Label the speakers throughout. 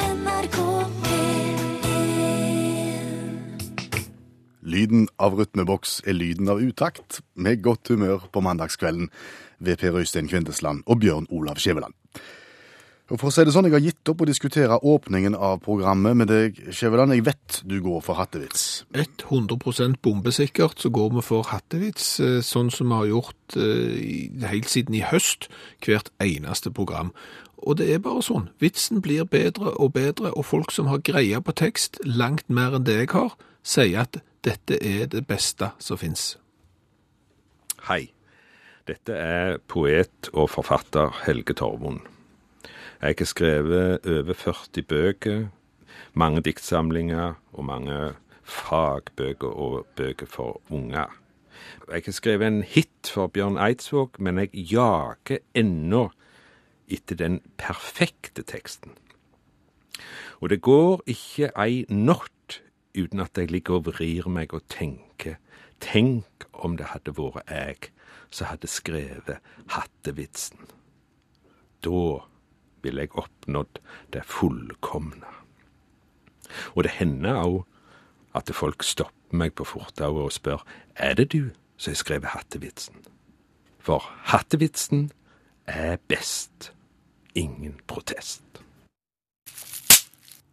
Speaker 1: NRK P1
Speaker 2: Lyden av rytmeboks er lyden av utakt, med godt humør på mandagskvelden ved Per Øystein Kvindesland og Bjørn Olav Skjæveland. Og For å si det sånn, jeg har gitt opp å diskutere åpningen av programmet med deg, Skjæveland. Jeg vet du går for hattevits.
Speaker 3: 100 bombesikkert så går vi for hattevits, eh, sånn som vi har gjort eh, i- helt siden i høst, hvert eneste program. Og det er bare sånn. Vitsen blir bedre og bedre, og folk som har greie på tekst, langt mer enn det jeg har, sier at dette er det beste som finnes.
Speaker 4: Hei. Dette er poet og forfatter Helge Torvund. Jeg har skrevet over 40 bøker, mange diktsamlinger og mange fagbøker og bøker for unger. Jeg har skrevet en hit for Bjørn Eidsvåg, men jeg jager ennå etter den perfekte teksten. Og det går ikke ei natt uten at jeg ligger og vrir meg og tenker. Tenk om det hadde vært jeg som hadde skrevet hattevitsen. Da ville jeg oppnådd det fullkomne. Og det hender òg at folk stopper meg på fortauet og spør er det du som har skrevet hattevitsen. For hattevitsen er best. Ingen protest.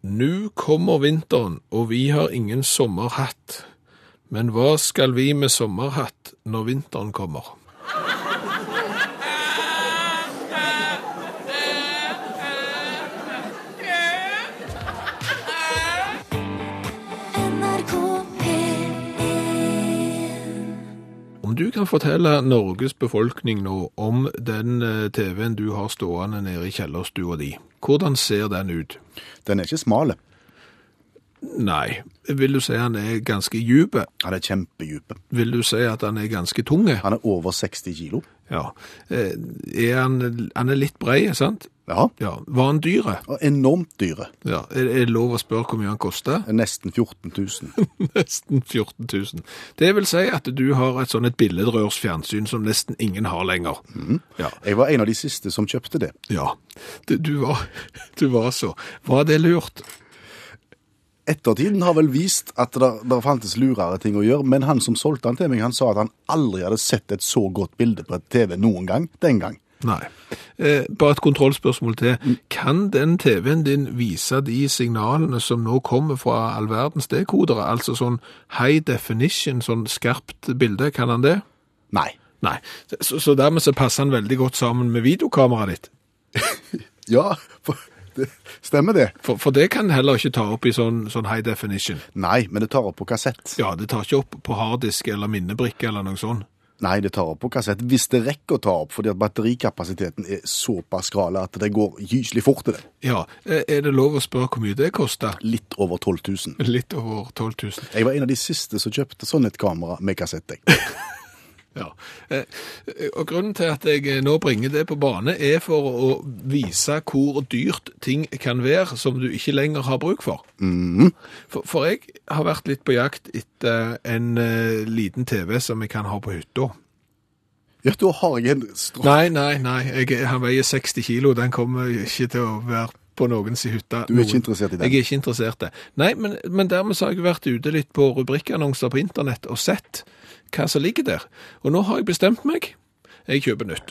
Speaker 3: Nu kommer vinteren, og vi har ingen sommerhatt. Men hva skal vi med sommerhatt når vinteren kommer?
Speaker 1: NRK P1
Speaker 3: Om du kan fortelle Norges befolkning nå om den eh, TV-en du har stående nede i kjellerstua di, hvordan ser den ut?
Speaker 2: Den er ikke smal.
Speaker 3: Nei, vil du si han er ganske djup?
Speaker 2: Han er kjempedjup.
Speaker 3: Vil du si at han er ganske tung?
Speaker 2: Han er over 60 kilo.
Speaker 3: Ja. Eh, Er han, han er litt brei, sant?
Speaker 2: Ja.
Speaker 3: Ja. Var han dyre?
Speaker 2: Og enormt dyre.
Speaker 3: Ja. Er er det lov å spørre hvor mye han koster?
Speaker 2: Nesten 14 000.
Speaker 3: Nesten 14 000. Det vil si at du har et sånn et billedrørsfjernsyn som nesten ingen har lenger. Ja.
Speaker 2: Jeg var en av de siste som kjøpte det.
Speaker 3: ja. Du, du, var, du var så. Var det lurt?
Speaker 2: Ettertiden har vel vist at det, det fantes lurere ting å gjøre, men han som solgte han til meg, han sa at han aldri hadde sett et så godt bilde på et TV noen gang den gang.
Speaker 3: Nei. Eh, bare et kontrollspørsmål til. Kan den TV-en din vise de signalene som nå kommer fra all verdens D-kodere? Altså sånn high definition, sånn skarpt bilde, kan han det?
Speaker 2: Nei.
Speaker 3: Nei. Så, så dermed så passer han veldig godt sammen med videokameraet ditt.
Speaker 2: Ja, for, det, stemmer det.
Speaker 3: For, for det kan heller ikke ta opp i sånn, sånn high definition.
Speaker 2: Nei, men det tar opp på kassett.
Speaker 3: Ja, det tar ikke opp på harddisk eller minnebrikke eller noe sånt.
Speaker 2: Nei, det tar opp på kassett hvis det rekker å ta opp, fordi at batterikapasiteten er såpass skral at det går gyselig fort til det.
Speaker 3: Ja, eh, er det lov å spørre hvor mye det koster?
Speaker 2: Litt over 12 000.
Speaker 3: Litt over 12 000.
Speaker 2: Jeg var en av de siste som kjøpte sånn et kamera med kassett. jeg.
Speaker 3: Ja. Eh, Og grunnen til at jeg eh, nå bringer det på bane, er for å vise hvor dyrt ting kan være som du ikke lenger har bruk for. For, for jeg har vært litt på jakt etter en eh, liten TV som jeg kan ha på hytta.
Speaker 2: Ja, da har jeg en strå...
Speaker 3: Nei, nei, nei. Jeg, han veier 60 kilo. Den kommer ikke til å være på noens i hytta.
Speaker 2: Du er
Speaker 3: noen-
Speaker 2: ikke interessert i den?
Speaker 3: Jeg er ikke interessert det. Nei, men, men dermed så har jeg vært ute litt på rubrikkannonser på internett og sett hva som ligger der. Og nå har jeg bestemt meg. Jeg kjøper nytt.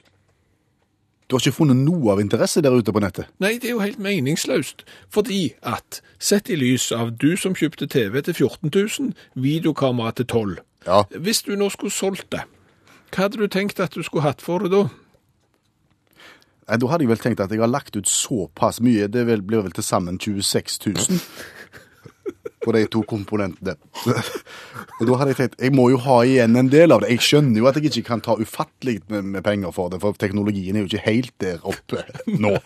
Speaker 2: Du har ikke funnet noe av interesse der ute på nettet?
Speaker 3: Nei, det er jo helt meningsløst. Fordi at, sett i lys av du som kjøpte TV til 14 000, videokamera til 12
Speaker 2: Ja.
Speaker 3: Hvis du nå skulle solgt det, hva hadde du tenkt at du skulle hatt for det da?
Speaker 2: Nei, Da hadde jeg vel tenkt at jeg har lagt ut såpass mye. Det vel- blir vel til sammen 26 000 på de to komponentene. Og da hadde jeg tenkt jeg må jo ha igjen en del av det. Jeg skjønner jo at jeg ikke kan ta ufattelig med, med penger for det, for teknologien er jo ikke helt der oppe nå.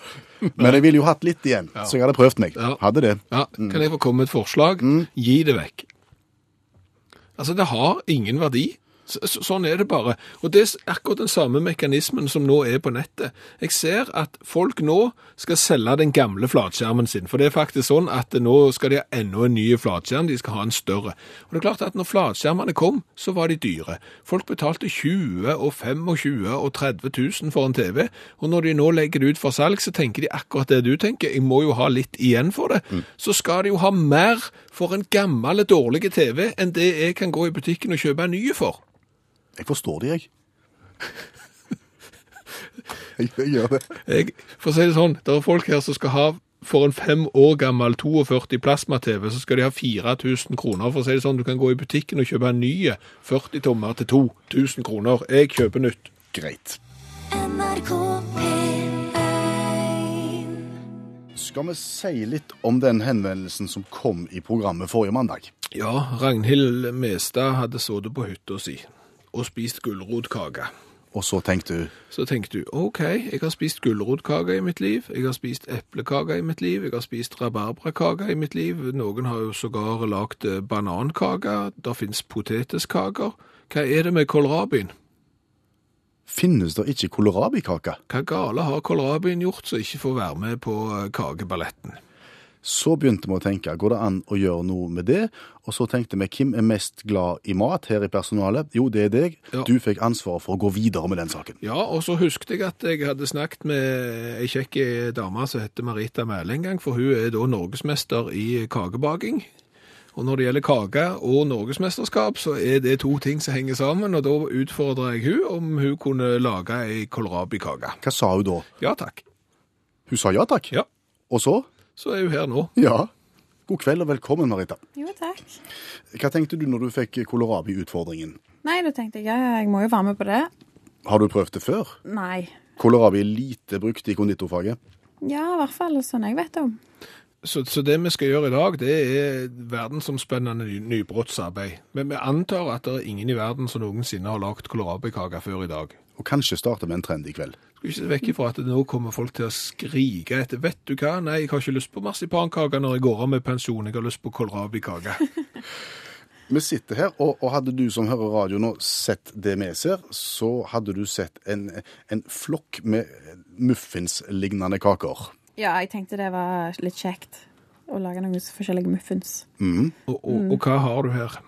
Speaker 2: Men jeg ville jo hatt litt igjen, så jeg hadde prøvd meg.
Speaker 3: Ja.
Speaker 2: Hadde det.
Speaker 3: Ja, Kan jeg få komme med et forslag? Gi det vekk. Altså, det har ingen verdi. Så- så- Sånn er det bare. Og det er akkurat den samme mekanismen som nå er på nettet. Jeg ser at folk nå skal selge den gamle flatskjermen sin, for det er faktisk sånn at nå skal de ha enda en ny flatskjerm, de skal ha en større. Og det er klart at når flatskjermene kom, så var de dyre. Folk betalte 20 000 og 25 000 og 30 000 for en TV, og når de nå legger det ut for salg, så tenker de akkurat det du tenker, jeg må jo ha litt igjen for det. Så skal de jo ha mer for en gammel, dårlig TV enn det jeg kan gå i butikken og kjøpe en ny for.
Speaker 2: Jeg forstår det, jeg. jeg. Jeg gjør det.
Speaker 3: Jeg, for å si det sånn, det er folk her som skal ha for en fem år gammel 42 plasma-TV, så skal de ha 4000 kroner. For å si det sånn, du kan gå i butikken og kjøpe en ny 40 tommer til 2000 kroner. Jeg kjøper nytt.
Speaker 2: Greit.
Speaker 1: NRK P1
Speaker 2: Skal vi si litt om den henvendelsen som kom i programmet forrige mandag?
Speaker 3: Ja, Ragnhild Mestad hadde sittet på hytta si og spist gulrotkake.
Speaker 2: Og så tenkte du
Speaker 3: Så tenkte du OK, jeg har spist gulrotkake i mitt liv, jeg har spist eplekake i mitt liv, jeg har spist rabarbrakake i mitt liv, noen har jo sågar lagd eh, banankake, det fins potetekaker. Hva er det med kålrabien?
Speaker 2: Finnes det ikke kålrabikake?
Speaker 3: Hva gale har kålrabien gjort som ikke får være med på eh, kakeballetten?
Speaker 2: Så begynte vi å tenke går det an å gjøre noe med det. Og så tenkte vi hvem er mest glad i mat her i personalet? Jo, det er deg.
Speaker 3: Ja.
Speaker 2: Du fikk ansvaret for å gå videre med den saken.
Speaker 3: Ja, og så husket jeg at jeg hadde snakket med ei kjekk dame som heter Marita Mæhle en gang, for hun er da norgesmester i kakebaking. Og når det gjelder kake og norgesmesterskap, så er det to ting som henger sammen, og da utfordrer jeg hun om hun kunne lage ei kålrabikake.
Speaker 2: Hva sa hun da?
Speaker 3: Ja takk.
Speaker 2: Hun sa ja takk.
Speaker 3: Ja,
Speaker 2: Og så?
Speaker 3: så er hun her nå.
Speaker 2: Ja. God kveld og velkommen, Marita.
Speaker 5: Jo, takk.
Speaker 2: Hva tenkte du når du fikk kålrabiutfordringen?
Speaker 5: Nei, da tenkte jeg ja, ja, jeg må jo være med på det.
Speaker 2: Har du prøvd det før?
Speaker 5: Nei.
Speaker 2: Kålrabi er lite brukt i konditorfaget.
Speaker 5: Ja, i hvert fall sånn jeg vet om.
Speaker 3: Så, så det vi skal gjøre i dag, det er verdensomspennende ny- nybrottsarbeid. Men vi antar at det er ingen i verden som noensinne har lagd kålrabikake før i dag.
Speaker 2: Og kanskje starte med en trend i kveld.
Speaker 3: Skal ikke se vekk ifra at nå kommer folk til å skrike etter Vet du hva, nei, jeg har ikke lyst på marsipankake når jeg går av med pensjon, jeg har lyst på kålrabikake.
Speaker 2: Vi sitter her, og, og hadde du som hører radio nå sett det vi ser, så hadde du sett en, en flokk med muffinslignende kaker.
Speaker 5: Ja, jeg tenkte det var litt kjekt å lage noen forskjellige muffins.
Speaker 3: Og, og, og hva har du her?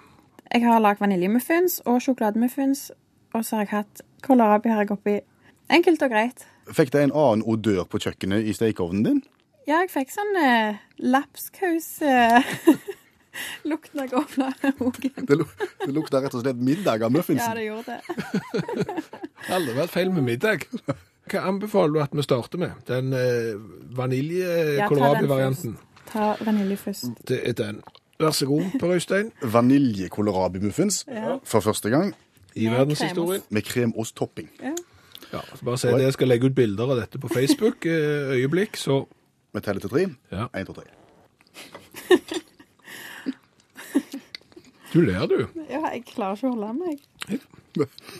Speaker 5: Jeg har lagd vaniljemuffins og sjokolademuffins, og så har jeg hatt kålrabi har jeg oppi. Enkelt og greit.
Speaker 2: Fikk det en annen odør på kjøkkenet i stekeovnen din?
Speaker 5: Ja, jeg fikk sånn eh, lapskaus eh, Lukten av gåpla hogen.
Speaker 2: Det, lu- det lukta rett og slett middag av
Speaker 5: Ja,
Speaker 2: muffinsen.
Speaker 5: det gjorde det.
Speaker 3: Aldri vært feil med middag. Hva anbefaler du at vi starter med? Den eh,
Speaker 5: Ja, ta den
Speaker 3: vanilje-kålrabi-varianten.
Speaker 5: først. Ta vanilje først.
Speaker 3: Det er den. Vær så god, Per Øystein.
Speaker 2: Vaniljekohlrabimuffins
Speaker 5: Ja.
Speaker 2: for første gang
Speaker 3: I
Speaker 5: Med
Speaker 3: verdenshistorien.
Speaker 2: med kremosttopping.
Speaker 3: Ja, så bare si det. Jeg skal legge ut bilder av dette på Facebook eh, øyeblikk, så
Speaker 2: Vi teller til tre.
Speaker 3: Ja.
Speaker 2: Én, to, tre.
Speaker 3: Du ler, du.
Speaker 5: Ja, jeg klarer ikke å holde meg.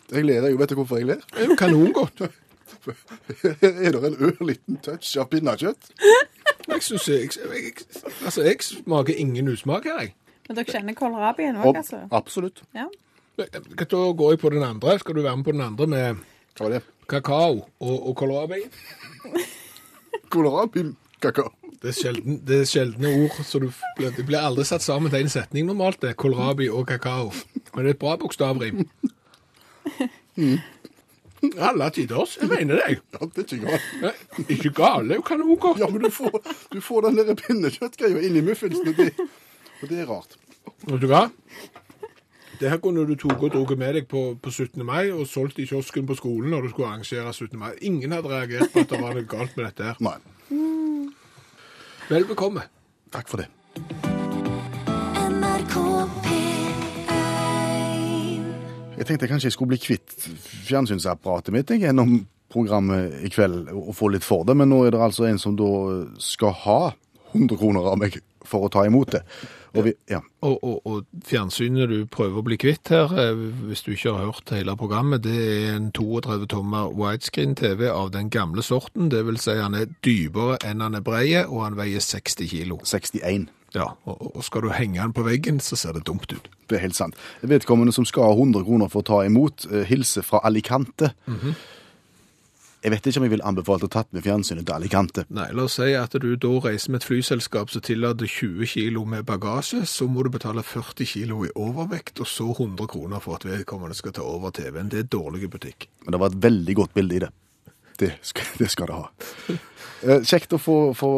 Speaker 2: Jeg ler jeg jo. Vet du hvorfor jeg ler?
Speaker 3: Det er jo kanongodt.
Speaker 2: Er det en ørliten touch av pinnekjøtt?
Speaker 3: Jeg synes jeg, jeg, jeg, altså, jeg smaker ingen usmak her, jeg.
Speaker 5: Men dere kjenner kålrabien òg, altså?
Speaker 2: Absolutt.
Speaker 5: Ja.
Speaker 3: Da går jeg på den andre. Skal du være med på den andre med
Speaker 2: Hva var det?
Speaker 3: kakao og, og kålrabi?
Speaker 2: Kålrabikakao.
Speaker 3: Det er, sjelden, det er sjeldne ord, så du blir, det blir aldri satt sammen til én setning normalt. det er Kålrabi og kakao. Men det er et bra bokstavrim. Mm. Alle tiders, jeg mener deg.
Speaker 2: Ja, det er ikke galt.
Speaker 3: Nei, Ikke gale, jo kanongodt.
Speaker 2: Ja, men du får, du får den der pinnekjøttgreia inn i muffinsen, og det, og det er rart.
Speaker 3: Vet du hva? Det her kunne du tatt og drukket med deg på, på 17. mai og solgt i kiosken på skolen når du skulle arrangere 17. mai. Ingen hadde reagert på at det var noe galt med dette her.
Speaker 2: Nei.
Speaker 3: Vel bekomme.
Speaker 2: Takk for det.
Speaker 1: NRK P1
Speaker 2: Jeg tenkte kanskje jeg skulle bli kvitt fjernsynsapparatet mitt jeg, gjennom programmet i kveld og få litt for det, men nå er det altså en som da skal ha 100 kroner av meg for å ta imot det. Og vi, ja.
Speaker 3: Og, og, og fjernsynet du prøver å bli kvitt her, eh, hvis du ikke har hørt hele programmet, det er en 32-tommer widescreen-TV av den gamle sorten. Det vil si han er dypere enn han er breie, og han veier 60 kilo.
Speaker 2: 61.
Speaker 3: Ja, og, og skal du henge den på veggen, så ser det dumt ut.
Speaker 2: Det er helt sant. Vedkommende som skal ha 100 kroner for å ta imot, eh, hilser fra Alicante. Jeg vet ikke om jeg ville anbefalt å tatt med fjernsynet til Alicante.
Speaker 3: Nei, la oss si at du da reiser med et flyselskap som tillater 20 kilo med bagasje, så må du betale 40 kilo i overvekt, og så 100 kroner for at vedkommende skal ta over TV-en. Det er dårlig butikk.
Speaker 2: Men det var et veldig godt bilde i det. Det skal det, skal det ha. Eh, Kjekt å få, få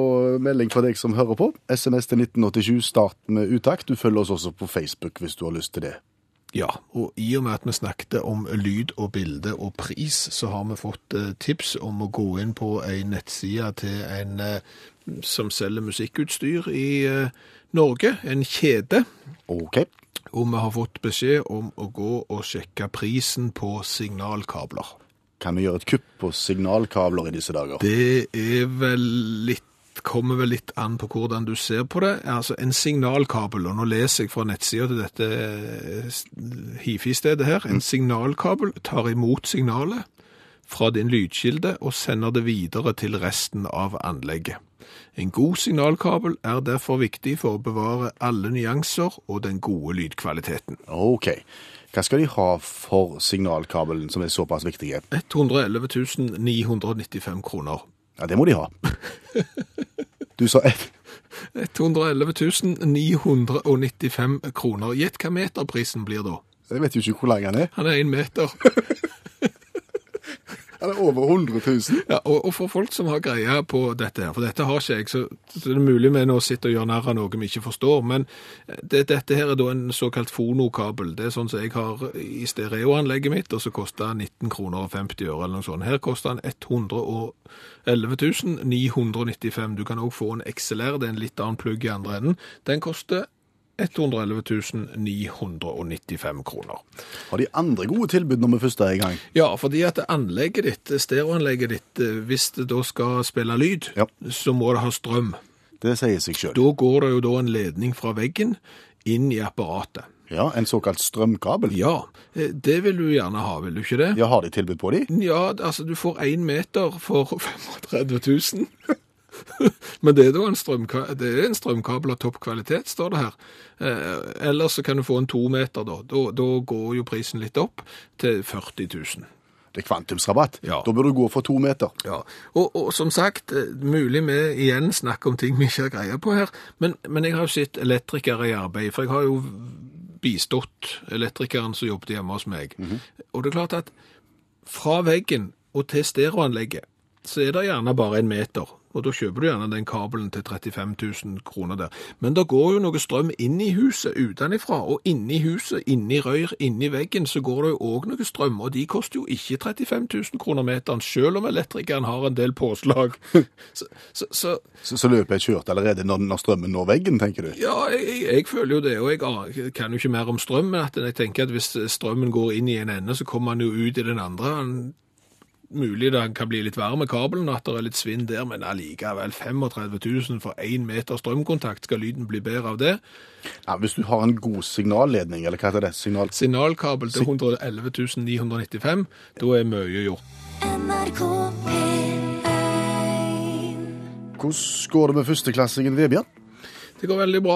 Speaker 2: melding fra deg som hører på. SMS til 1987, start med utakt. Du følger oss også på Facebook hvis du har lyst til det.
Speaker 3: Ja, og i og med at vi snakket om lyd og bilde og pris, så har vi fått eh, tips om å gå inn på en nettside til en eh, som selger musikkutstyr i eh, Norge, en kjede.
Speaker 2: OK.
Speaker 3: Og vi har fått beskjed om å gå og sjekke prisen på signalkabler.
Speaker 2: Kan vi gjøre et kupp på signalkabler i disse dager?
Speaker 3: Det er vel litt kommer vel litt an på hvordan du ser på det. Altså, en signalkabel, og nå leser jeg fra nettsida til dette eh, s- hifi-stedet her, en signalkabel tar imot signalet fra din lydkilde og sender det videre til resten av anlegget. En god signalkabel er derfor viktig for å bevare alle nyanser og den gode lydkvaliteten.
Speaker 2: OK. Hva skal de ha for signalkabelen som er såpass viktige?
Speaker 3: 111 995 kroner.
Speaker 2: Ja, det må de ha. Du sa
Speaker 3: 111 995 kroner. Gjett hva meterprisen blir da.
Speaker 2: Jeg vet jo ikke hvor lang han er.
Speaker 3: Han er én meter.
Speaker 2: Han er over 100 000.
Speaker 3: Ja, og, og for folk som har greie på dette her, for dette har ikke jeg, så, så det er mulig vi nå sitter og gjør narr av noe vi ikke forstår, men eh, det, dette her er da en såkalt fonokabel. Det er sånn som jeg har i stereoanlegget mitt, og så koster den 19 kroner og 50 øre eller noe sånt. Her koster den 111 995. Du kan også få en XLR, det er en litt annen plugg i andre enden. Den koster 111 995 kroner.
Speaker 2: Har de andre gode tilbud når vi først er i gang?
Speaker 3: Ja, fordi at anlegget ditt, stereoanlegget ditt, eh, hvis det da skal spille lyd,
Speaker 2: Ja.
Speaker 3: så må det ha strøm.
Speaker 2: Det sier seg sjøl.
Speaker 3: Da går det jo da en ledning fra veggen inn i apparatet.
Speaker 2: Ja, en såkalt strømkabel.
Speaker 3: Ja, eh, det vil du gjerne ha, vil du ikke det?
Speaker 2: Ja, har de tilbud på de?
Speaker 3: Ja, altså du får én meter for 35 000. Men det er da en, strømka det er en strømkabel av topp kvalitet, står det her. Eh, ellers så kan du få en to meter, da. da. Da går jo prisen litt opp til 40 000.
Speaker 2: Det er kvantumsrabatt.
Speaker 3: Ja.
Speaker 2: Da bør du gå for to meter.
Speaker 3: Ja, og, og som sagt, eh, mulig vi igjen snakker om ting vi ikke har greie på her, men, men jeg har jo sett elektrikere i arbeid, for jeg har jo bistått elektrikeren som jobbet hjemme hos meg. Og det er klart at fra veggen og til stereoanlegget, så er det gjerne bare en meter, og da kjøper du gjerne den kabelen til 35 000 kroner der. Men det går jo noe strøm inn i huset utenifra, og inni huset, inni røyr, inni veggen, så går det jo også noe strøm, og de koster jo ikke 35 000 kroner meteren, selv om elektrikeren har en del påslag. Så, så, så
Speaker 2: Så, så løpet er kjørt allerede når, når strømmen når veggen, tenker du?
Speaker 3: ja, jeg, jeg, jeg føler jo det, og jeg an- kan jo ikke mer om strøm, men at jeg tenker at hvis strømmen går inn i en ende, så kommer han jo ut i den andre. Han, mulig det kan bli litt varm i kabelen, at det er litt svinn der, men allikevel 35 000 for én meter strømkontakt, skal lyden bli bedre av det?
Speaker 2: Ja, hvis du har en god signalledning, eller hva heter det? Signal...
Speaker 3: Signalkabel til 111 995, da er mye gjort.
Speaker 1: NRK P1
Speaker 2: Hvordan går det med førsteklassingen Vebjørn?
Speaker 3: Det går veldig bra.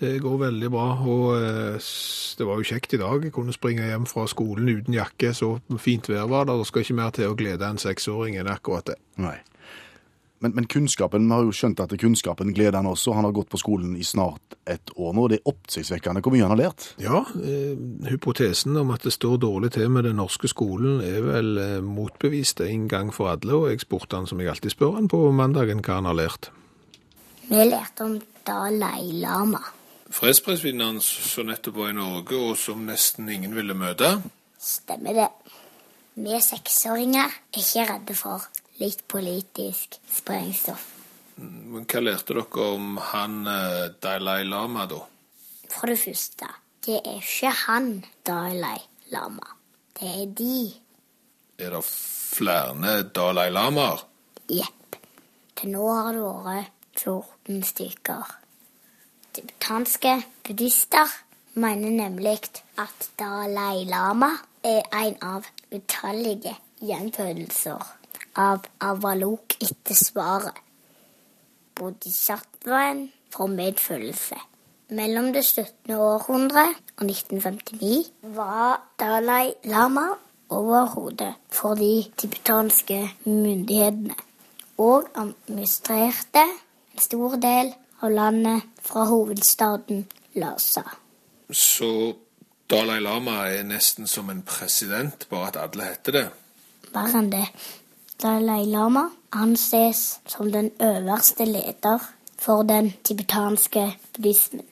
Speaker 3: Det går veldig bra, og eh, s- det var jo kjekt i dag. Jeg kunne springe hjem fra skolen uten jakke, så fint vær var det. Det skal ikke mer til å glede en seksåring enn akkurat det.
Speaker 2: Nei. Men, men kunnskapen, vi har jo skjønt at kunnskapen gleder han også. Han har gått på skolen i snart et år nå. Det er oppsiktsvekkende hvor mye han har lært.
Speaker 3: Ja, eh, hypotesen om at det står dårlig til med den norske skolen er vel eh, motbevist en gang for alle, og jeg spurte han som jeg alltid spør han på mandagen hva han har lært.
Speaker 6: Vi lærte om Dalai Lama.
Speaker 3: Fredsprisvinneren som nettopp var i Norge, og som nesten ingen ville møte.
Speaker 6: Stemmer det. Vi seksåringer er ikke redde for litt politisk sprengstoff.
Speaker 3: Men hva lærte dere om han eh, Dalai Lama, da?
Speaker 6: For det første, det er ikke han Dalai Lama. Det er de.
Speaker 3: Er det flere Dalai Lamaer?
Speaker 6: Jepp. Til nå har det vært 14 stykker. Tibetanske buddhister mener nemlig at Dalai Lama er en av utallige gjenfødelser av Avalok etter svaret. Bodhisattvaen for medfølelse. Mellom det 17. århundre og 1959 var Dalai Lama overhodet for de tibetanske myndighetene og administrerte en stor del av landet fra hovedstaden Lhasa.
Speaker 3: Så Dalai Lama er nesten som en president, bare at alle heter det.
Speaker 6: Mer enn det, Dalai Lama anses som den øverste leder for den tibetanske buddhismen.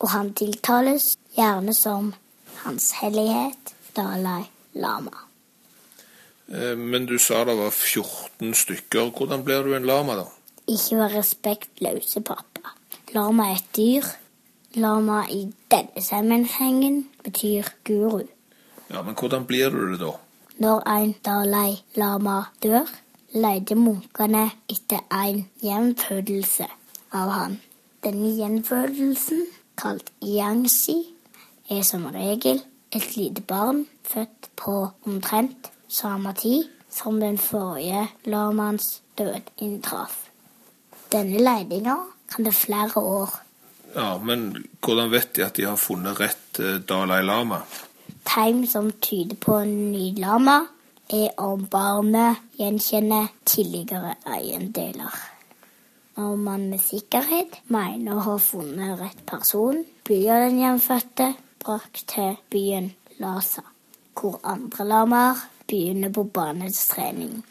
Speaker 6: Og han tiltales gjerne som Hans Hellighet Dalai Lama.
Speaker 3: Eh, Men du sa det var 14 stykker. Hvordan blir du en lama, da?
Speaker 6: Ikke vær respektløse, pappa. Lama er et dyr. Lama i denne sammenhengen betyr guru.
Speaker 3: Ja, Men hvordan blir du det, da?
Speaker 6: Når en Dalai Lama dør, leter munkene etter en gjenfødelse av han. Denne gjenfødelsen, kalt yangsi, er som regel et lite barn født på omtrent samme tid som den forrige lamaens død inntraff. Denne letinga kan det flere år.
Speaker 3: Ja, Men hvordan vet de at de har funnet rett eh, Dalai Lama?
Speaker 6: Tegn som tyder på en ny lama, er om barnet gjenkjenner tidligere eiendeler. Når man med sikkerhet mener å ha funnet rett person, blir den hjemfødte brakt til byen Lhasa, hvor andre lamaer begynner på barnets trening.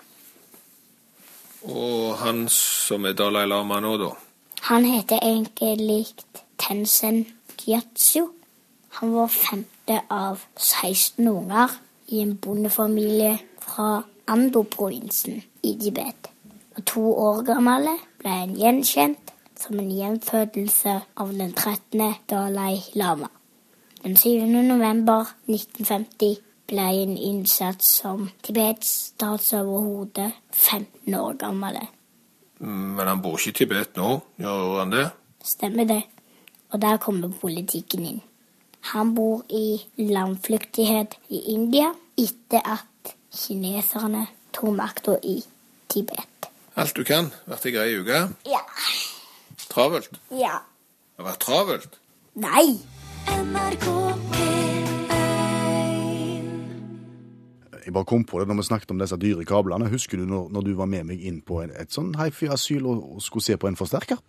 Speaker 3: Og han som er Dalai Lama nå, da?
Speaker 6: Han heter egentlig Tensen Gyatso. Han var femte av 16 unger i en bondefamilie fra Ando-provinsen i Tibet. Og to år gammel ble han gjenkjent som en gjenfødelse av den 13. Dalai Lama. Den 7. november 1950 ble han innsatt som Tibets statsoverhode 15 år gammel.
Speaker 3: Mm, Men han bor ikke i Tibet nå, gjør han det?
Speaker 6: Stemmer det. Og der kommer politikken inn. Han bor i landflyktighet i India etter at kineserne tok makta i Tibet.
Speaker 3: Alt du kan. Vært ei grei uke.
Speaker 6: Ja.
Speaker 3: Travelt.
Speaker 6: Ja.
Speaker 3: Det har vært travelt.
Speaker 6: Nei!
Speaker 1: NRK P1
Speaker 2: Jeg bare kom på det når vi snakket om disse dyre kablene. Husker du når, når du var med meg inn på en, et sånn hifi-asyl og, og skulle se på en forsterker?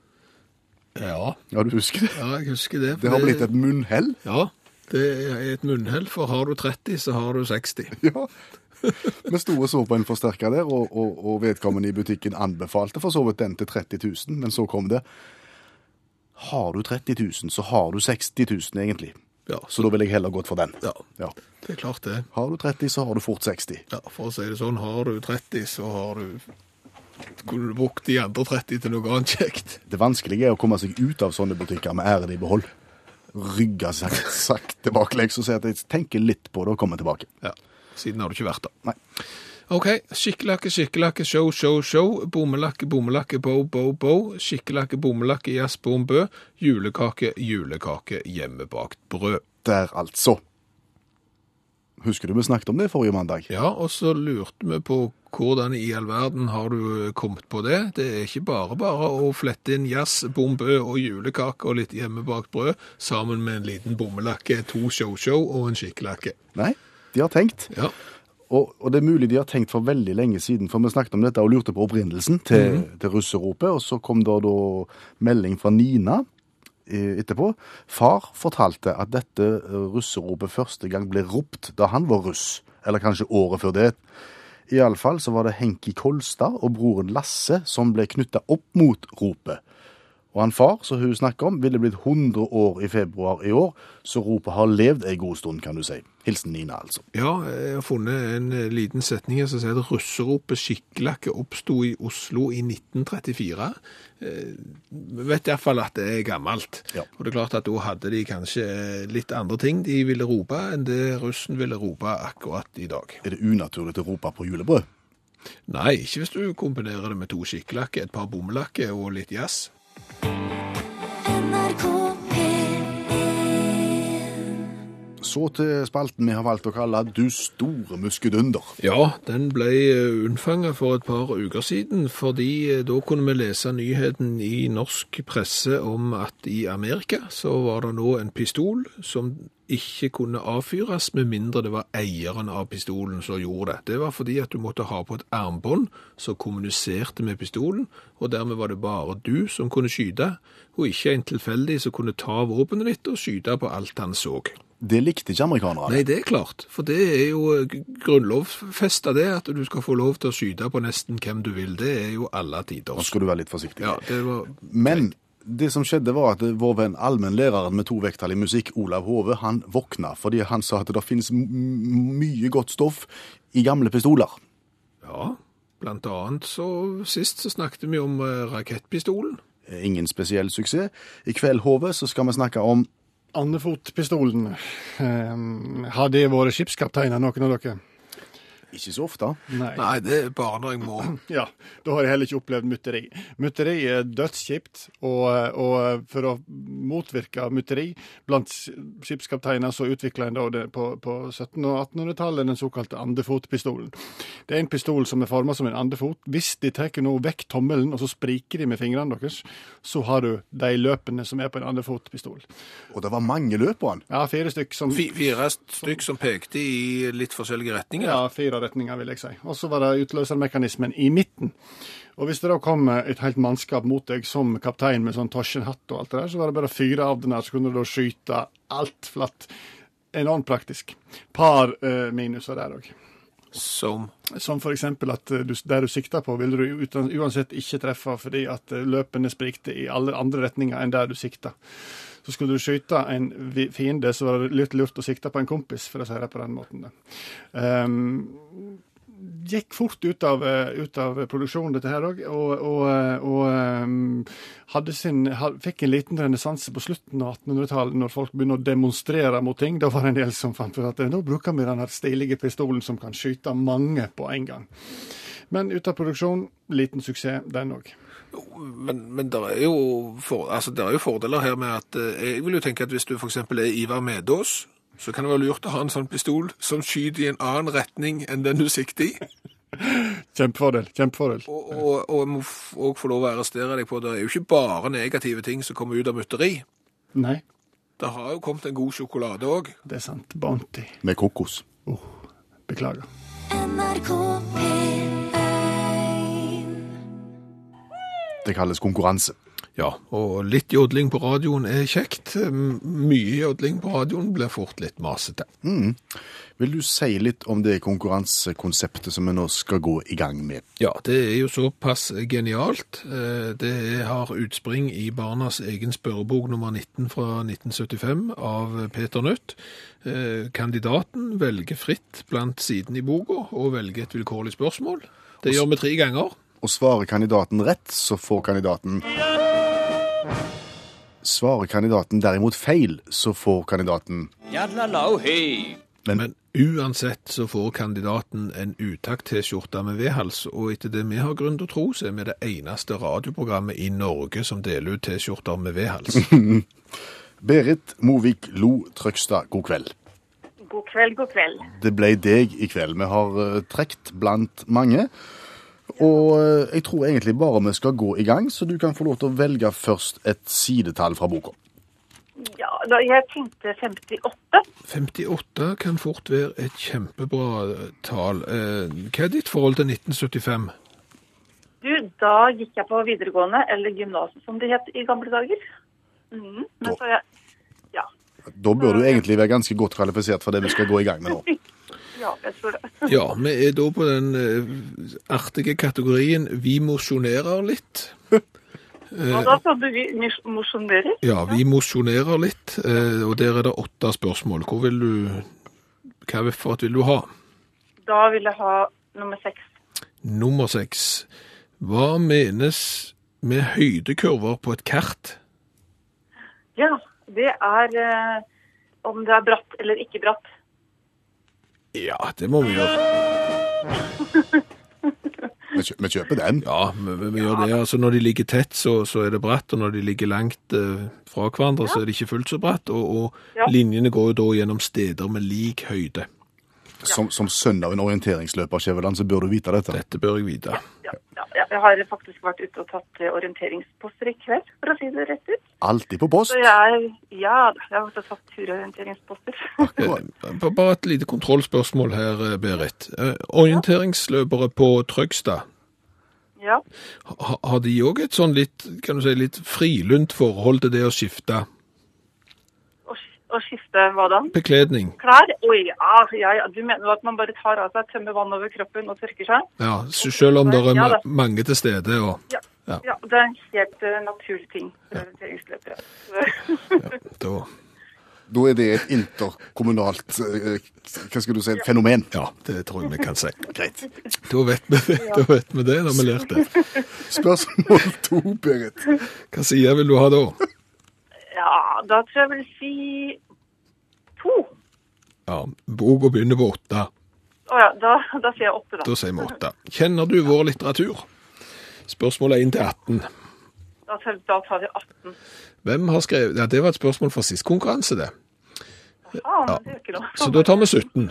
Speaker 3: Ja,
Speaker 2: Ja, du husker det?
Speaker 3: jeg husker det.
Speaker 2: Det har blitt et munnhell.
Speaker 3: Ja, det er et munnhell, for har du 30, så har du 60.
Speaker 2: Ja. Vi sto og så på en forsterker der, og, og, og vedkommende i butikken anbefalte for så vidt den til 30 000, men så kom det Har du 30 000, så har du 60 000, egentlig.
Speaker 3: Ja,
Speaker 2: Så da ville jeg heller gått for den.
Speaker 3: Ja.
Speaker 2: Ja.
Speaker 3: det er klart det.
Speaker 2: Har du 30, så har du fort 60.
Speaker 3: Ja, for å si det sånn, har du 30, så har du Kunne du brukt de andre 30 til noe annet kjekt?
Speaker 2: Det vanskelige er å komme seg ut av sånne butikker med æren i behold. Rygge sakte, sakte baklengs og si at jeg tenker litt på det og kommer tilbake.
Speaker 3: Ja. Siden har du ikke vært der.
Speaker 2: Nei.
Speaker 3: OK. Skikkelakke, skikkelakke, show, show, show. Bommelakke, bommelakke, bo, bo, bo. Skikkelakke, bommelakke, jazz, bom, bø. Julekake, julekake, hjemmebakt brød.
Speaker 2: Der, altså. Husker du vi snakket om det forrige mandag?
Speaker 3: Ja, og så lurte vi på hvordan i all verden har du eh, kommet på det? Det er ikke bare bare å flette inn jazz, bombø og julekake og litt hjemmebakt brød sammen med en liten bommelakke, to show-show og en skikkelakke.
Speaker 2: Nei? De har tenkt.
Speaker 3: Ja,
Speaker 2: Og, og det er mulig de har tenkt for veldig lenge siden, for vi snakket om dette og lurte på opprinnelsen til, til russeropet, og så kom det da melding fra Nina eh, etterpå. Far fortalte at dette eh, russeropet første gang ble ropt da han var russ, eller kanskje året før det. Iallfall så var det Henki Kolstad og broren Lasse som ble knytta opp mot ropet. Og han far, som hun snakker om, ville blitt 100 år i februar i år, så ropet har levd ei god stund, kan du si. Hilsen Nina, altså.
Speaker 3: ja jeg har funnet en eh, liten setning her som sier at russeropet skikkelakke oppstod i Oslo i 1934. Eh, Vi vet i hvert fall at det er gammelt.
Speaker 2: Ja.
Speaker 3: Og det er klart at da hadde de kanskje eh, litt andre ting de ville rope enn det russen ville rope akkurat i dag.
Speaker 2: Er det unaturlig å rope på julebrød?
Speaker 3: Nei, ikke hvis du kombinerer det med to skikkelakke, et par bommelakke og litt jazz.
Speaker 1: NRK P1
Speaker 2: Så til spalten vi har valgt å kalle Du store muskedunder.
Speaker 3: Ja, den ble eh, unnfanget for et par uker siden, fordi eh, da kunne vi lese nyheten i norsk presse om at i Amerika så var det nå en pistol som ikke kunne avfyres med mindre det var eieren av pistolen som gjorde det. Det var fordi at du måtte ha på et armbånd som kommuniserte med pistolen, og dermed var det bare du som kunne skyte, og ikke en tilfeldig som kunne ta våpenet ditt og skyte på alt han så.
Speaker 2: Det likte ikke amerikanerne.
Speaker 3: Nei, det er klart. For det er jo grunnlovfesta det, at du skal få lov til å skyte på nesten hvem du vil. Det er jo alle
Speaker 2: Nå
Speaker 3: tiders.
Speaker 2: skal du være litt forsiktig.
Speaker 3: Ja, det var
Speaker 2: Men det som skjedde var at vår venn allmennlæreren med to vekttall i musikk, Olav Hove, han våkna fordi han sa at det finnes m- mye godt stoff i gamle pistoler.
Speaker 3: Ja. Blant annet så sist så snakket vi om eh, rakettpistolen.
Speaker 2: Ingen spesiell suksess. I kveld, Hove, så skal vi snakke om
Speaker 7: Andefotpistolen. Um, har det vært skipskapteiner, noen av dere?
Speaker 2: Ikke så ofte.
Speaker 7: Nei.
Speaker 3: Nei, det er bare når jeg må.
Speaker 7: Ja, da har jeg heller ikke opplevd mutteri. Mutteri er dødskjipt, og, og for å motvirke mutteri blant skipskapteiner, så utvikla en da det på, på 1700- og 1800-tallet den såkalte andefotpistolen. Det er en pistol som er forma som en andefot. Hvis de tar nå vekk tommelen, og så spriker de med fingrene deres, så har du de løpene som er på en andefotpistol.
Speaker 2: Og det var mange løp på han.
Speaker 7: Ja, fire stykk som
Speaker 3: Fi- Fire stykk som pekte i litt forskjellige retninger.
Speaker 7: Ja, fire retninger, vil jeg si. Og så var det utløsermekanismen i midten. Og hvis det da kom et helt mannskap mot deg som kaptein med sånn Tosjen-hatt og alt det der, så var det bare å fyre av den her, så kunne du da skyte alt flatt. Enormt praktisk. Par eh, minuser der òg.
Speaker 3: Som
Speaker 7: Som f.eks. at eh, du, der du sikta på, ville du uten, uansett ikke treffe fordi at eh, løpene sprikte i alle andre retninger enn der du sikta. Så skulle du skyte en vi- fiende, så var det litt lurt å sikte på en kompis, for å si det på den måten. Da. Ehm, gikk fort ut av, eh, ut av produksjonen, dette her òg, og, og, eh, og ehm, hadde sin, ha- fikk en liten renessanse på slutten av 1800-tallet, når folk begynner å demonstrere mot ting. Da var det en del som fant ut at eh, nå bruker vi den her stilige pistolen som kan skyte mange på en gang. Men ut av produksjon, liten suksess, den òg.
Speaker 3: Men, men det er, jo for, altså, der er jo fordeler her med at eh, Jeg vil jo tenke at hvis du f.eks. er Ivar Medås, så kan det være lurt å ha en sånn pistol som skyter i en annen retning enn den du sikter i.
Speaker 7: Kjempefordel. Kjempefordel.
Speaker 3: Og, og, og må f- og få lov å arrestere deg på det. er jo ikke bare negative ting som kommer ut av mytteri.
Speaker 7: Nei,
Speaker 3: Det har jo kommet en god sjokolade òg.
Speaker 7: det er sant. Bounty.
Speaker 2: Med kokos.
Speaker 7: Beklager.
Speaker 1: NRK P1
Speaker 2: Det kalles konkurranse.
Speaker 3: Ja, og litt jodling på radioen er kjekt. M- Mye jodling på radioen blir fort litt masete.
Speaker 2: Vil du si litt om det konkurransekonseptet som vi nå skal gå i gang med?
Speaker 3: Ja, det er jo såpass genialt. Eh, Det har utspring i Barnas egen spørrebok nummer 19 fra 1975 av Peter Nødt. Eh, Kandidaten velger fritt blant sidene i boka og velger et vilkårlig spørsmål. Det gjør vi tre ganger.
Speaker 2: Og svarer kandidaten rett, så får kandidaten Svarer kandidaten derimot feil, så får kandidaten
Speaker 3: Men uansett så får kandidaten en utakt-T-skjorte med vedhals, og etter det vi har grunn til å tro, så er vi det eneste radioprogrammet i Norge som deler ut T-skjorter med vedhals.
Speaker 2: Berit Movik Lo Trøgstad, god kveld.
Speaker 8: God kveld, god kveld.
Speaker 2: Det ble deg i kveld. Vi har eh, trekt blant mange. Og eh, jeg tror egentlig bare vi skal gå i gang, så du kan få lov til å velge først et sidetall fra boka.
Speaker 8: Ja, da, jeg tenkte 58.
Speaker 3: 58 kan fort være et kjempebra eh, tall. Eh, Hva er ditt forhold til 1975?
Speaker 8: Du, da gikk jeg på videregående, eller gymnaset som det het i gamle dager. Mhm, men så jeg, ja,
Speaker 2: Da bør du egentlig være ganske godt kvalifisert for det vi skal gå i gang med nå.
Speaker 8: ja, jeg tror det.
Speaker 3: Ja, vi er da på den eh, artige kategorien 'vi mosjonerer litt'.
Speaker 8: Og da så du vi mos- mosjonerer.
Speaker 3: Ja, vi mosjonerer litt, eh, og der er det åtte spørsmål. Hvor vil du, hva for et vil du ha?
Speaker 8: Da vil jeg ha nummer seks.
Speaker 3: Nummer seks. Hva menes med høydekurver på et kart?
Speaker 8: Ja, det er eh, om det er bratt eller ikke bratt.
Speaker 3: Ja, det må vi gjøre.
Speaker 2: Vi kjø- vi kjøper den.
Speaker 3: Ja, vi, vi, vi gjør det. Altså, når de ligger tett, så, så er det bratt, og når de ligger langt eh, fra hverandre, så er det ikke fullt så bratt. Og, og
Speaker 8: Ja.
Speaker 3: linjene går jo da gjennom steder med lik høyde.
Speaker 2: Som, som sønn av en orienteringsløper, Skjæveland, så bør du vite dette.
Speaker 3: Dette bør jeg vite.
Speaker 8: Ja, ja, ja, jeg har faktisk vært ute og tatt eh, orienteringsposter i kveld, for å si det rett ut.
Speaker 2: Alltid på post.
Speaker 8: Så jeg, ja, jeg har vært og tatt turorienteringsposter.
Speaker 3: Eh, ba- Bare et lite kontrollspørsmål her, eh, Berit. Eh, Orienteringsløpere på Trøgstad,
Speaker 8: ja.
Speaker 3: ha- har de òg et sånn litt, kan du si, litt frilunt forhold til det å skifte
Speaker 8: Og, sk- og skifte hva da?
Speaker 3: bekledning?
Speaker 8: Klær? Oi, ja, ja, ja. Du mener at man bare tar av seg, tømmer vann over kroppen og tørker seg?
Speaker 3: Ja, s- selv om det er
Speaker 8: Ja,
Speaker 3: ma
Speaker 8: da.
Speaker 3: mange til stede. Og,
Speaker 8: Ja.
Speaker 3: Ja.
Speaker 8: ja, det er en helt eh, naturlig ting for orienteringsløpere. Så-
Speaker 3: da,
Speaker 2: Da er det et interkommunalt eh, hva skal du si, fenomen.
Speaker 3: ja, det tror jeg vi kan si.
Speaker 2: Greit.
Speaker 3: Da vet vi det, da vet vi det, da har vi lært det.
Speaker 2: Spørsmål to, Berit.
Speaker 3: Hva sier vil du ha da?
Speaker 8: Ja, da tror jeg jeg vil si to.
Speaker 3: Ja, Boka begynner på åtte.
Speaker 8: Å ja, da, da sier jeg åtte, da.
Speaker 3: Da sier vi åtte. Kjenner du vår litteratur? Spørsmål 1 til 18.
Speaker 8: Da tar, da tar vi 18.
Speaker 3: Hvem har skrevet Ja, det var et spørsmål fra sist konkurranse, det.
Speaker 8: Ah, men det gjør ikke noe.
Speaker 3: Så da tar vi 17,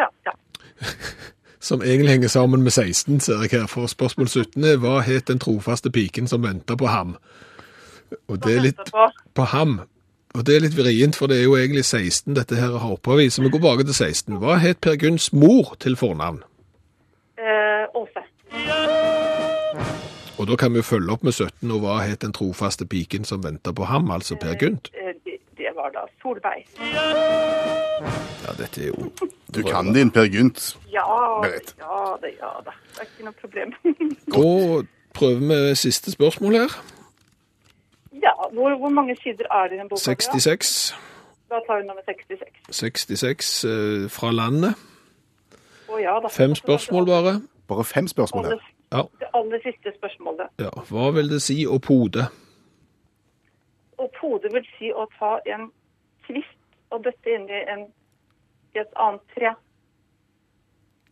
Speaker 8: Ja, ja.
Speaker 3: som egentlig henger sammen med 16, ser jeg her. For spørsmål 17 er hva het den trofaste piken som venta på ham? Og det er litt
Speaker 8: Etterpå.
Speaker 3: på ham. Og det er litt vrient, for det er jo egentlig 16 dette her har opphav i, så vi går tilbake til 16. Hva het Per Gunns mor til fornavn?
Speaker 8: Eh, Åse.
Speaker 3: Og da kan vi jo følge opp med 17, og hva het den trofaste piken som venta på ham, altså Per Gynt?
Speaker 8: Eh, det, det var da Solveig.
Speaker 3: Ja, dette er jo
Speaker 2: Du kan din, Per Gynt.
Speaker 8: Ja,
Speaker 2: Berit.
Speaker 8: ja da, ja da. Det er ikke noe problem.
Speaker 3: Da prøver vi siste spørsmål her.
Speaker 8: ja, hvor, hvor mange sider er det i den boka? da?
Speaker 3: 66.
Speaker 8: Da tar vi nummer 66.
Speaker 3: 66 eh, fra landet.
Speaker 8: Å ja da.
Speaker 3: Fem spørsmål bare.
Speaker 2: Bare fem spørsmål
Speaker 8: Det,
Speaker 2: her.
Speaker 3: Ja,
Speaker 8: det aller siste spørsmålet.
Speaker 3: ja. Hva vil det si å pode?
Speaker 8: Og pode vil si å ta en kvist og døtte inn i, en, i et annet tre.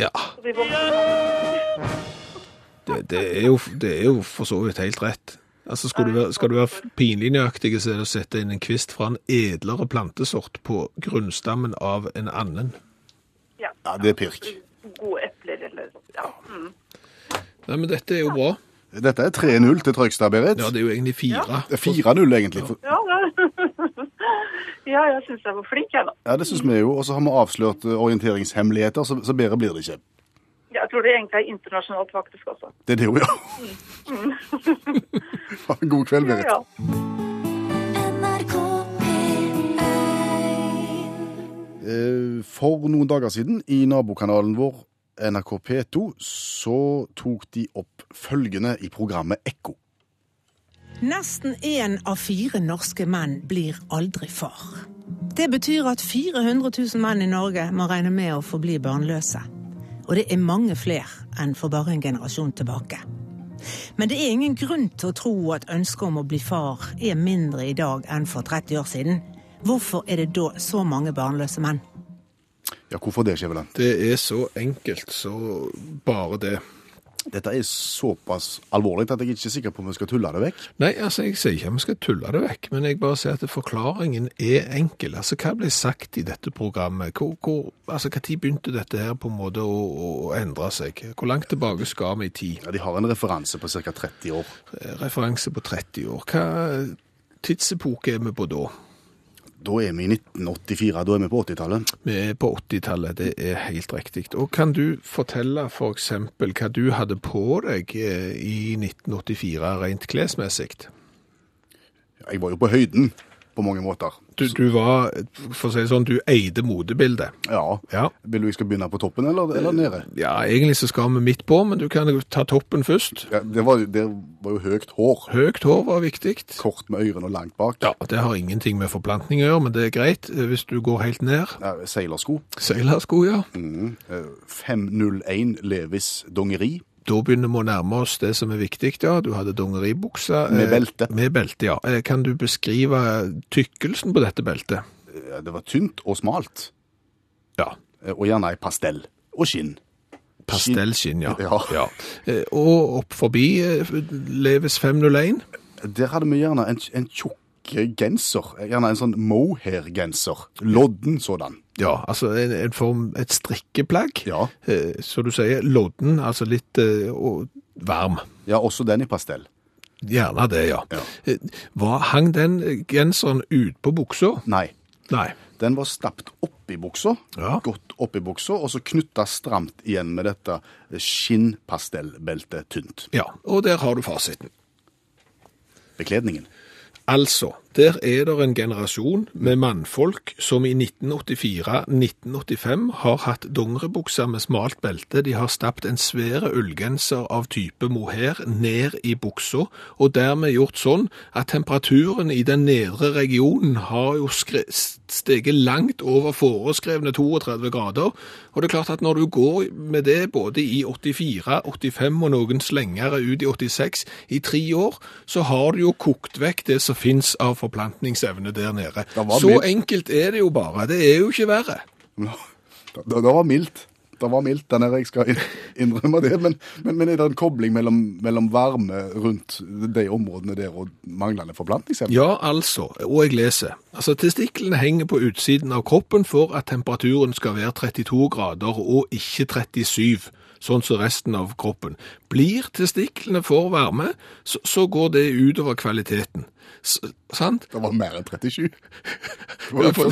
Speaker 3: Ja,
Speaker 8: Så de vokser.
Speaker 3: det, det, er jo, det er jo for så vidt helt rett. Altså, skal du være, skal du være pinlig nøyaktig, så er det å sette inn en kvist fra en edlere plantesort på grunnstammen av en annen.
Speaker 8: Ja.
Speaker 2: Ja, det er pirk.
Speaker 8: Gode epler eller sånt. Ja. Mm.
Speaker 3: Nei, men dette er jo bra.
Speaker 2: Dette er 3-0 til Trøgstad, Berit.
Speaker 3: Ja, det er jo egentlig fire.
Speaker 2: Det er 4-0, egentlig. for-
Speaker 8: ja, ja. ja, jeg syns jeg var flink, jeg, da.
Speaker 2: Ja, det syns vi jo. Og så har vi avslørt eh, orienteringshemmeligheter, så, så bedre blir det ikke.
Speaker 8: Jeg tror det egentlig er internasjonalt, faktisk, også.
Speaker 2: Det er det hun gjør.
Speaker 8: Mm.
Speaker 2: Ha en god kveld,
Speaker 8: Ja,
Speaker 2: Berit.
Speaker 8: ja.
Speaker 1: NRK P1
Speaker 2: Eh, For noen dager siden, i nabokanalen vår NRK P2, så tok de opp følgende i programmet Ekko.
Speaker 9: Nesten én av fire norske menn blir aldri far. Det betyr at 400 000 menn i Norge må regne med å forbli barnløse. Og det er mange flere enn for bare en generasjon tilbake. Men det er ingen grunn til å tro at ønsket om å bli far er mindre i dag enn for 30 år siden. Hvorfor er det da så mange barnløse menn?
Speaker 2: Ja, hvorfor det, Skjæveland?
Speaker 3: Det er så enkelt, så bare det.
Speaker 2: Dette er såpass alvorlig at jeg er ikke er sikker på om vi skal tulle det vekk.
Speaker 3: Nei, altså, jeg sier ikke at vi skal tulle det vekk, men jeg bare sier at forklaringen er enkel. Altså, hva ble sagt i dette programmet? Hvor, hvor, altså, hva tid begynte dette her på en måte å, å, å endre seg? Hvor langt tilbake skal vi i tid?
Speaker 2: Ja, De har en referanse på ca. 30 år.
Speaker 3: Eh, Referanse på 30 år. Hva tidsepoke er vi på da?
Speaker 2: Da er vi i 1984, da er vi på 80-tallet.
Speaker 3: Vi er på 80-tallet, det er helt riktig. Og kan du fortelle for eksempel hva du hadde på deg eh, i 1984 rent klesmessigt?
Speaker 2: Jeg var jo på høyden på mange måter.
Speaker 3: Du, du var, for å si det sånn, du eide modebildet.
Speaker 2: Ja.
Speaker 3: Ja.
Speaker 2: Vil du jeg skal begynne på toppen eller, eller nede?
Speaker 3: Ja, egentlig så skal vi midt på, men du kan jo ta toppen først.
Speaker 2: Ja, det, var, jo- det var jo høyt hår.
Speaker 3: Høyt hår var viktig.
Speaker 2: Kort med ørene og langt bak.
Speaker 3: Ja, det har ingenting med forplantning å gjøre, men det er greit eh, hvis du går helt ned.
Speaker 2: Eh, Seilersko.
Speaker 3: Seilersko, ja.
Speaker 2: Eh, 501 Levis dongeri.
Speaker 3: Da begynner vi å nærme oss det som er viktig, ja. Du hadde dongeribuksa. eh,
Speaker 2: Med belte.
Speaker 3: Med belte, ja. Eh, Kan du beskrive tykkelsen på dette beltet?
Speaker 2: Eh, Det var tynt og smalt.
Speaker 3: Ja.
Speaker 2: Eh, Og gjerne i pastell og skinn.
Speaker 3: Pastellskinn, ja.
Speaker 2: Ja.
Speaker 3: Eh, Og opp forbi eh, Leves 501.
Speaker 2: Der hadde vi gjerne en, en tjukk genser. Gjerne en sånn mohair-genser. Lodden sådan.
Speaker 3: Ja, altså en, en form, et strikkeplagg.
Speaker 2: Ja.
Speaker 3: Eh, Så du sier lodden, altså litt eh, og varm.
Speaker 2: ja, også den i pastell.
Speaker 3: Gjerne det, ja.
Speaker 2: Ja.
Speaker 3: Eh, Hva, hang den genseren ut på buksa?
Speaker 2: Nei.
Speaker 3: Nei.
Speaker 2: Den var stappet oppi buksa,
Speaker 3: Ja.
Speaker 2: godt oppi buksa, og så knytta stramt igjen med dette skinnpastellbeltet tynt.
Speaker 3: Ja, og der har du fasiten.
Speaker 2: Bekledningen.
Speaker 3: Altså, der er det en generasjon med mannfolk som i 1984-1985 har hatt dongeribukser med smalt belte. De har stappet en svære ullgenser av type mohair ned i buksa, og dermed gjort sånn at temperaturen i den nedre regionen har jo skre- steget langt over foreskrevne 32 grader. Og det er klart at når du går med det både i 84, 85 og noen slengere ut i 86 i tre år, så har du jo kokt vekk det som finnes av forplantningsevne der nede.
Speaker 2: Det var
Speaker 3: Så
Speaker 2: mildt.
Speaker 3: enkelt er det jo bare. Det er jo ikke verre.
Speaker 2: Det, det var mildt. Det var mildt, den her, jeg skal inn- innrømme det. Men, men, men er det en kobling mellom, mellom varme rundt de områdene der og manglende forplantningsevne?
Speaker 3: Ja, altså, og jeg leser. Altså, testiklene henger på utsiden av kroppen for at temperaturen skal være 32 grader og ikke 37, sånn som resten av kroppen. Blir testiklene for varme, så, så går det utover kvaliteten. S sant?
Speaker 2: Det var mer enn 37. Det var jo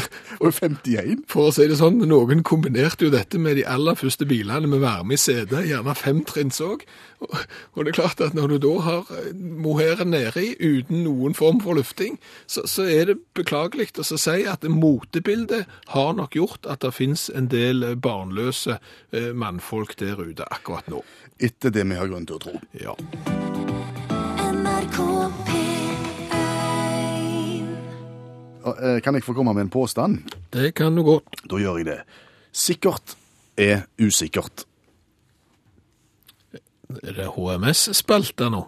Speaker 2: og 51.
Speaker 3: For å si det sånn, noen kombinerte jo dette med de aller første bilene med varme i setet, gjerne femtrinns òg. Og og det er klart at når du da har eh, mohairen nedi uten noen form for lufting, så, så er det beklagelig å så si at motebildet har nok gjort at det finnes en del eh, barnløse eh, mannfolk der ute akkurat nå.
Speaker 2: Etter det vi har grunn til å tro.
Speaker 3: Ja.
Speaker 1: NRK P1
Speaker 2: Og, eh, Kan jeg få komme med en påstand?
Speaker 3: Det kan du godt.
Speaker 2: Da gjør jeg det. Sikkert er usikkert.
Speaker 3: Er det HMS-spalta nå?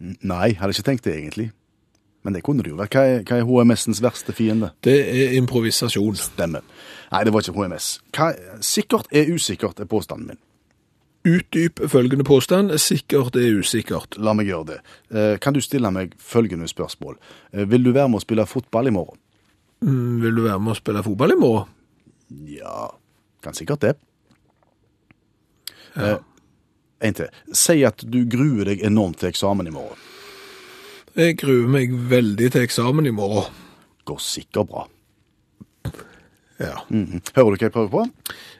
Speaker 2: Nei, hadde ikke tenkt det egentlig. Men det kunne det jo være. Hva er, hva er HMS-ens verste fiende?
Speaker 3: Det er improvisasjon.
Speaker 2: Stemmer. Nei, det var ikke HMS. Hva, sikkert er usikkert, er påstanden min.
Speaker 3: Utdyp følgende påstand. Sikkert er usikkert.
Speaker 2: La meg gjøre det. Eh, Kan du stille meg følgende spørsmål? Eh, Vil du være med å spille fotball i morgen?
Speaker 3: Mm, Vil du være med og spille fotball i morgen?
Speaker 2: Ja, kan sikkert det. Eh, En til. Si at du gruer deg enormt til eksamen i morgen.
Speaker 3: Jeg gruer meg veldig til eksamen i morgen.
Speaker 2: Går sikkert bra.
Speaker 3: Ja.
Speaker 2: Mhm. Hører du hva jeg prøver på?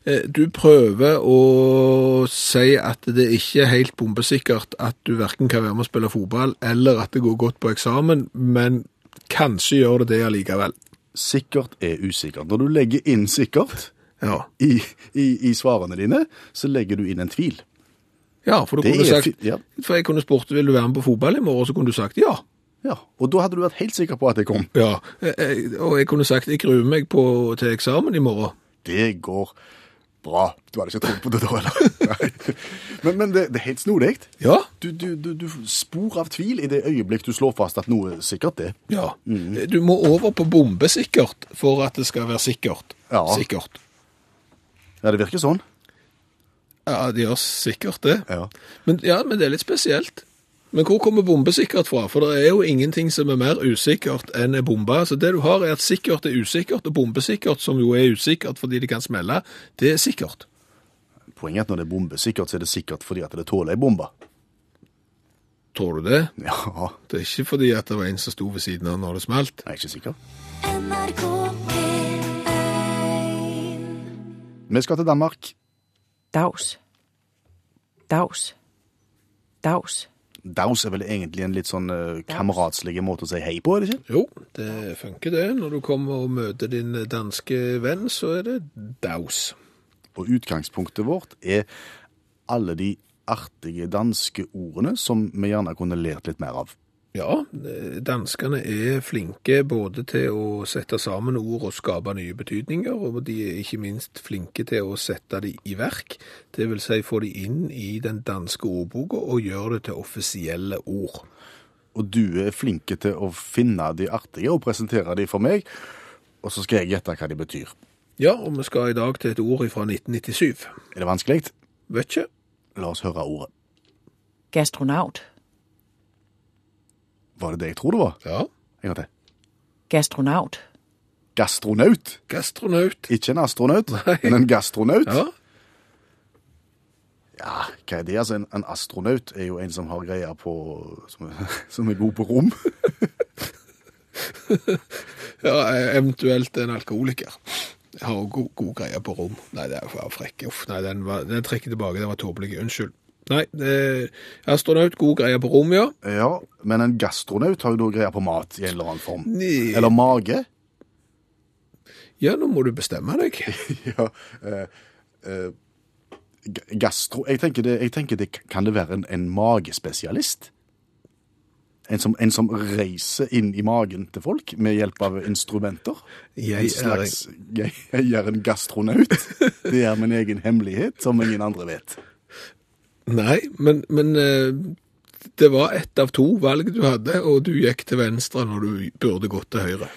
Speaker 3: Eh, Du prøver å si at det ikke er helt bombesikkert at du verken kan være med og spille fotball, eller at det går godt på eksamen, men kanskje gjør det det allikevel.
Speaker 2: Sikkert er usikkert. Når du legger inn sikkert
Speaker 3: Ja,
Speaker 2: i, i, i svarene dine, så legger du inn en tvil.
Speaker 3: ja for, du
Speaker 2: Det
Speaker 3: kunne
Speaker 2: er
Speaker 3: sagt,
Speaker 2: fi- ja.
Speaker 3: for jeg kunne spurt vil du være med på fotball i morgen, så kunne du sagt ja.
Speaker 2: Ja, Og da hadde du vært helt sikker på at det kom.
Speaker 3: ja. Eh, eh, Og jeg kunne sagt jeg gruer meg på, til eksamen i morgen.
Speaker 2: Det går bra. Du hadde ikke trodd på det da, eller? Nei. Men, men det, det er helt snodig.
Speaker 3: Ja,
Speaker 2: Du, du, du, du spor av tvil i det øyeblikk du slår fast at noe er sikkert det.
Speaker 3: ja.
Speaker 2: Mm.
Speaker 3: Du må over på bombesikkert for at det skal være sikkert.
Speaker 2: Ja.
Speaker 3: Sikkert.
Speaker 2: Ja, det virker sånn.
Speaker 3: Ja, de gjør sikkert det.
Speaker 2: Ja.
Speaker 3: Men, ja, men det er litt spesielt. Men hvor kommer bombesikkert fra? For det er jo ingenting som er mer usikkert enn en bombe. Så det du har er at sikkert er usikkert, og bombesikkert, som jo er usikkert fordi det kan smelle, det er sikkert.
Speaker 2: Poenget er at når det er bombesikkert, så er det sikkert fordi at det tåler ei bombe.
Speaker 3: Tror du det?
Speaker 2: Ja,
Speaker 3: Det er ikke fordi at det var en som sto ved siden av når det smalt.
Speaker 2: jeg er ikke sikker.
Speaker 1: NRK P1
Speaker 2: Vi skal til Danmark.
Speaker 10: Dags. Dags. Dags.
Speaker 2: Daus er vel egentlig en litt sånn eh, kameratslig måte å si hei på, er det ikke?
Speaker 3: Jo, det funker det. Når du kommer og møter din danske venn, så er det daus.
Speaker 2: Og utgangspunktet vårt er alle de artige danske ordene som vi gjerne kunne lært litt mer av.
Speaker 3: Ja, eh, danskene er flinke både til å sette sammen ord og skape nye betydninger, og de er ikke minst flinke til å sette de i verk, det vil si få de inn i den danske ordboka og gjøre det til offisielle ord.
Speaker 2: Og du er flinke til å finne de artige og presentere de for meg, og så skal jeg gjette hva de betyr.
Speaker 3: Ja, og vi skal i dag til et ord fra 1997.
Speaker 2: Er det vanskelig?
Speaker 3: Vet ikke.
Speaker 2: La oss høre ordet.
Speaker 10: Gastronaut.
Speaker 2: Var det det jeg tror det var?
Speaker 3: Ja.
Speaker 2: En gang til.
Speaker 10: Gastronaut.
Speaker 2: Gastronaut.
Speaker 3: Gastronaut.
Speaker 2: Ikke en astronaut, men en gastronaut.
Speaker 3: Ja.
Speaker 2: Ja, hva er det? Altså, en, en astronaut er jo en som har greier på Som, som er god på rom.
Speaker 3: ja, eventuelt en alkoholiker. Jeg har jo god, god greie på rom. Nei, det er jo frekk. Uff, nei, den, var, den trekker tilbake. Den var tåpelig. Unnskyld. Nei, eh, astronaut, god greie på rom, ja.
Speaker 2: Ja, Men en gastronaut har jo da greier på mat i en eller annen form.
Speaker 3: Nei.
Speaker 2: Eller mage.
Speaker 3: Ja, nå må du bestemme deg.
Speaker 2: Ja, eh, eh, ga- gastro jeg tenker, det, jeg tenker det kan det være en, en magespesialist. En som, en som reiser inn i magen til folk med hjelp av instrumenter.
Speaker 3: Jeg
Speaker 2: en
Speaker 3: er en-
Speaker 2: slags, jeg, jeg er en gastronaut. Det er min egen hemmelighet, som ingen andre vet.
Speaker 3: Nei, men, men eh, det var ett av to valg du hadde, og du gikk til venstre når du burde gått til høyre.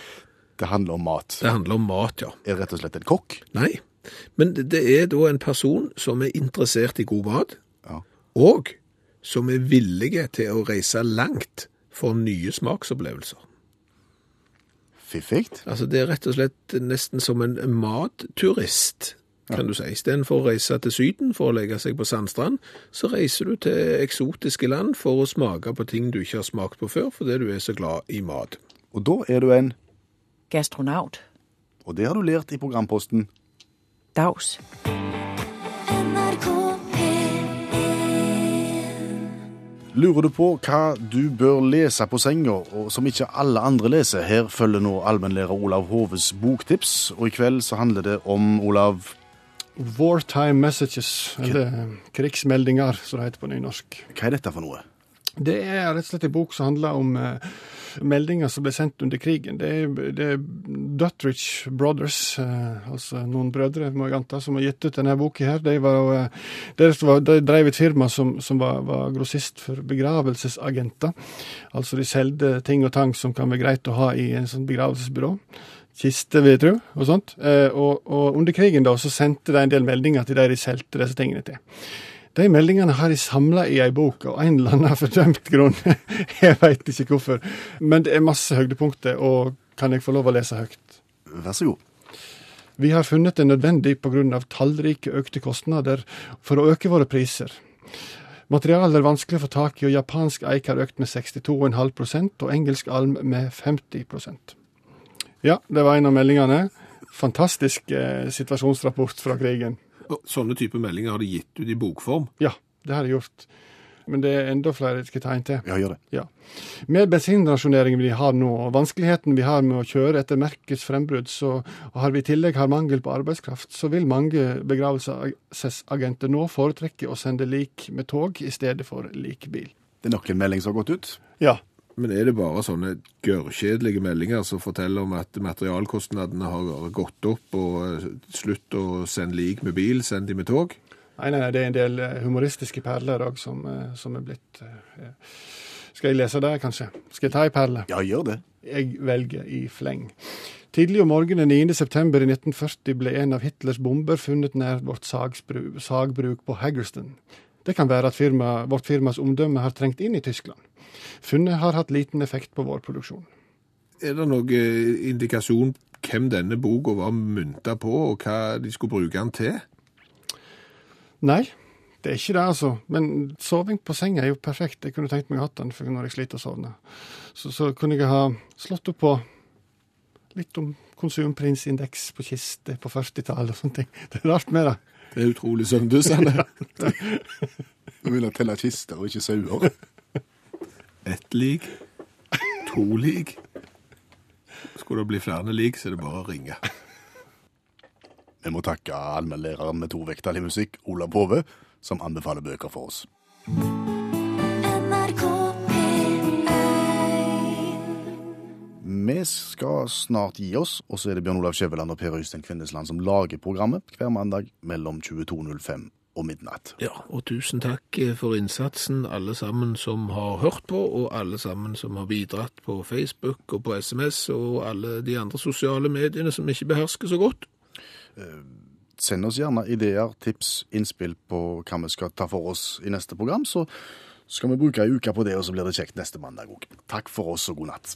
Speaker 2: Det handler om mat.
Speaker 3: Det handler om mat, ja.
Speaker 2: Er rett og slett en kokk.
Speaker 3: Nei, men det er da en person som er interessert i god mat,
Speaker 2: Ja.
Speaker 3: og som er villige til å reise langt for nye smaksopplevelser.
Speaker 2: Fiffig.
Speaker 3: Altså Det er rett og slett nesten som en matturist, kan du si. Istedenfor å reise til Syden for å legge seg på sandstrand, så reiser du til eksotiske land for å smake på ting du ikke har smakt på før, fordi du er så glad i mat.
Speaker 2: Og da er du en,
Speaker 10: Gastronaut.
Speaker 2: og det har du lært i programposten,
Speaker 10: Dags.
Speaker 1: NRK P1
Speaker 2: Lurer du på hva du bør lese på senga, og som ikke alle andre leser? Her følger nå allmennlærer Olav Hoves boktips, og i kveld så handler det om Olav
Speaker 7: Wartime messages, eller eh, krigsmeldinger, som det heter på nynorsk.
Speaker 2: Hva er dette for noe?
Speaker 7: Det er rett og slett en bok som handler om eh, meldinger som ble sendt under krigen. Det er, det er Duttrich Brothers, eh, altså noen brødre, må jeg anta, som har gitt ut denne boka her. De, var, jo, eh, de, som var, de drev et firma som, som var, var grossist for begravelsesagenter. Altså de solgte ting og tang som kan være greit å ha i en sånn begravelsesbyrå. Kiste, vil jeg tro, og sånt. Eh, og, og under krigen da, så sendte de en del meldinger til de de solgte disse tingene til. De meldingene har de samla i ei bok, av en eller annen fordømt grunn. Jeg veit ikke hvorfor. Men det er masse høydepunkter, og kan jeg få lov å lese høyt?
Speaker 2: Vær så god.
Speaker 7: Vi har funnet det nødvendig pga. tallrike økte kostnader for å øke våre priser. Materialet er vanskelig å få tak i, og japansk eik har økt med 62,5 og engelsk alm med 50 Ja, det var en av meldingene. Fantastisk eh, situasjonsrapport fra krigen.
Speaker 3: Og Sånne type meldinger har de gitt ut i bokform.
Speaker 7: Ja, det har jeg gjort. Men det er enda flere jeg skal ta en til.
Speaker 2: Ja, gjør det.
Speaker 7: Ja. Med bensinrasjoneringen vi har nå, og vanskeligheten vi har med å kjøre etter merkets frembrudd, så, og har vi i tillegg har mangel på arbeidskraft, så vil mange begravelsesagenter nå foretrekke å sende lik med tog i stedet for likbil.
Speaker 2: Det er nok en melding som har gått ut.
Speaker 7: Ja.
Speaker 3: Men er det bare sånne gørrkjedelige meldinger som forteller om at materialkostnadene har gått opp, og eh, slutt å sende lik med bil, send de med tog?
Speaker 7: Nei, nei, nei, det er en del eh, humoristiske perler òg som, eh, som er blitt eh, eh. Skal jeg lese det, kanskje? Skal jeg ta ei perle?
Speaker 2: Ja, gjør det.
Speaker 7: Jeg velger i fleng. Tidlig om morgenen 9. september i 1940 ble en av Hitlers bomber funnet nær vårt sagsbru- sagbruk på Haggerston. Det kan være at firma, vårt firmas omdømme har trengt inn i Tyskland. Funnet har hatt liten effekt på vår produksjon.
Speaker 3: Er det noen eh, indikasjon hvem denne boka var mynta på, og hva de skulle bruke den til?
Speaker 7: Nei, det er ikke det, altså. Men soving på senga er jo perfekt. Jeg kunne tenkt meg å hatt den for når jeg sliter å sovne. Så, så kunne jeg ha slått opp på litt om konsumprisindeks på kiste på 40-tallet og sånne ting. Det er rart med det.
Speaker 3: Det er utrolig søvndyssende.
Speaker 2: Du vil telle kister og ikke sauer.
Speaker 3: Ett lik, to lik. Skulle det bli flere lik, så er det bare å ringe.
Speaker 2: Vi må takke allmennlæreren med tovektig musikk, Olav Hove, som anbefaler bøker for oss.
Speaker 1: NRK P1
Speaker 2: Vi skal snart gi oss, og så er det Bjørn Olav Skjæveland og Per Øystein Kvindesland som lager programmet hver mandag mellom 22.05 og midnatt.
Speaker 3: Ja, og tusen takk eh, for innsatsen, alle sammen som har hørt på, og alle sammen som har bidratt på Facebook og på SMS, og alle de andre sosiale mediene som vi ikke behersker så godt.
Speaker 2: Send oss gjerne ideer, tips, innspill på hva vi skal ta for oss i neste program. Så skal vi bruke ei uke på det, og så blir det kjekt neste mandag òg. Takk for oss, og god natt.